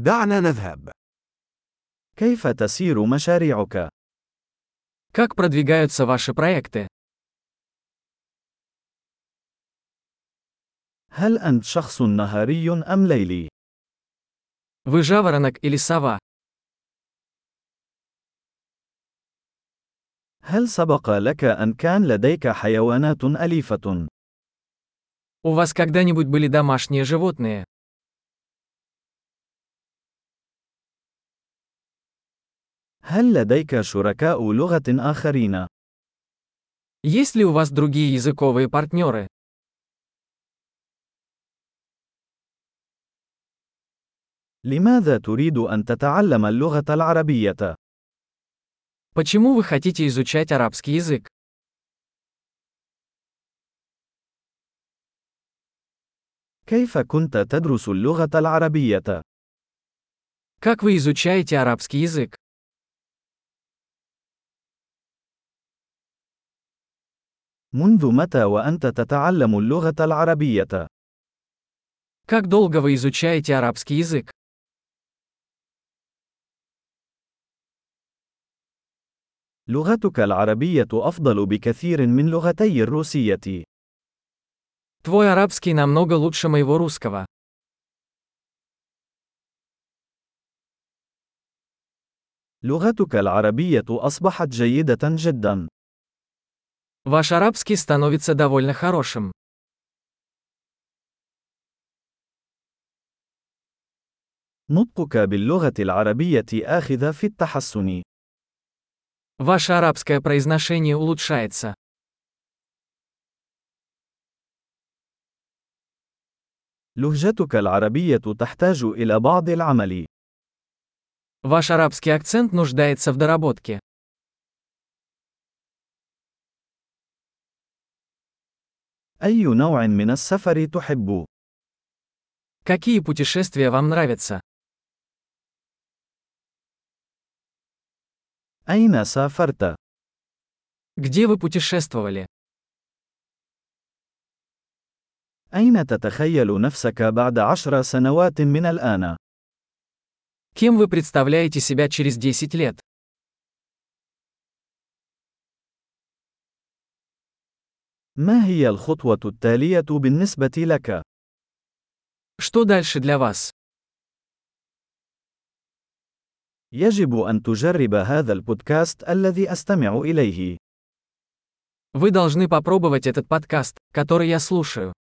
دعنا نذهب. كيف تسير مشاريعك؟ Как продвигаются ваши проекты? هل أنت شخص نهاري أم ليلي؟ Вы жаворонок или сова? هل سبق لك أن كان لديك حيوانات أليفة؟ У вас когда-нибудь были домашние животные? هل لديك شركاء لغة آخرين؟ Есть ли у вас другие языковые партнеры? لماذا تريد أن تتعلم اللغة العربية؟ Почему вы хотите изучать арабский язык? كيف كنت تدرس اللغة العربية؟ Как вы изучаете арабский язык? منذ متى وأنت تتعلم اللغة العربية؟ Как долго вы изучаете арабский язык? لغتك العربية أفضل بكثير من لغتي الروسية. Твой арабский намного лучше моего русского. لغتك العربية أصبحت جيدة جدا. Ваш арабский становится довольно хорошим. نطقك باللغة العربية آخذ في التحسن. Ваше арабское произношение улучшается. لهجتك العربية تحتاج إلى بعض العمل. Ваш арабский акцент нуждается в доработке. أي نوع من السفر تحب؟ Какие путешествия вам нравятся? أين سافرت؟ Где вы путешествовали? أين تتخيل نفسك بعد عشر سنوات من الآن؟ Кем вы представляете себя через 10 лет? ما هي الخطوة التالية بالنسبة لك؟ Что дальше для вас? يجب أن تجرب هذا البودكاست الذي أستمع إليه. Вы должны попробовать этот подкаст, который я слушаю.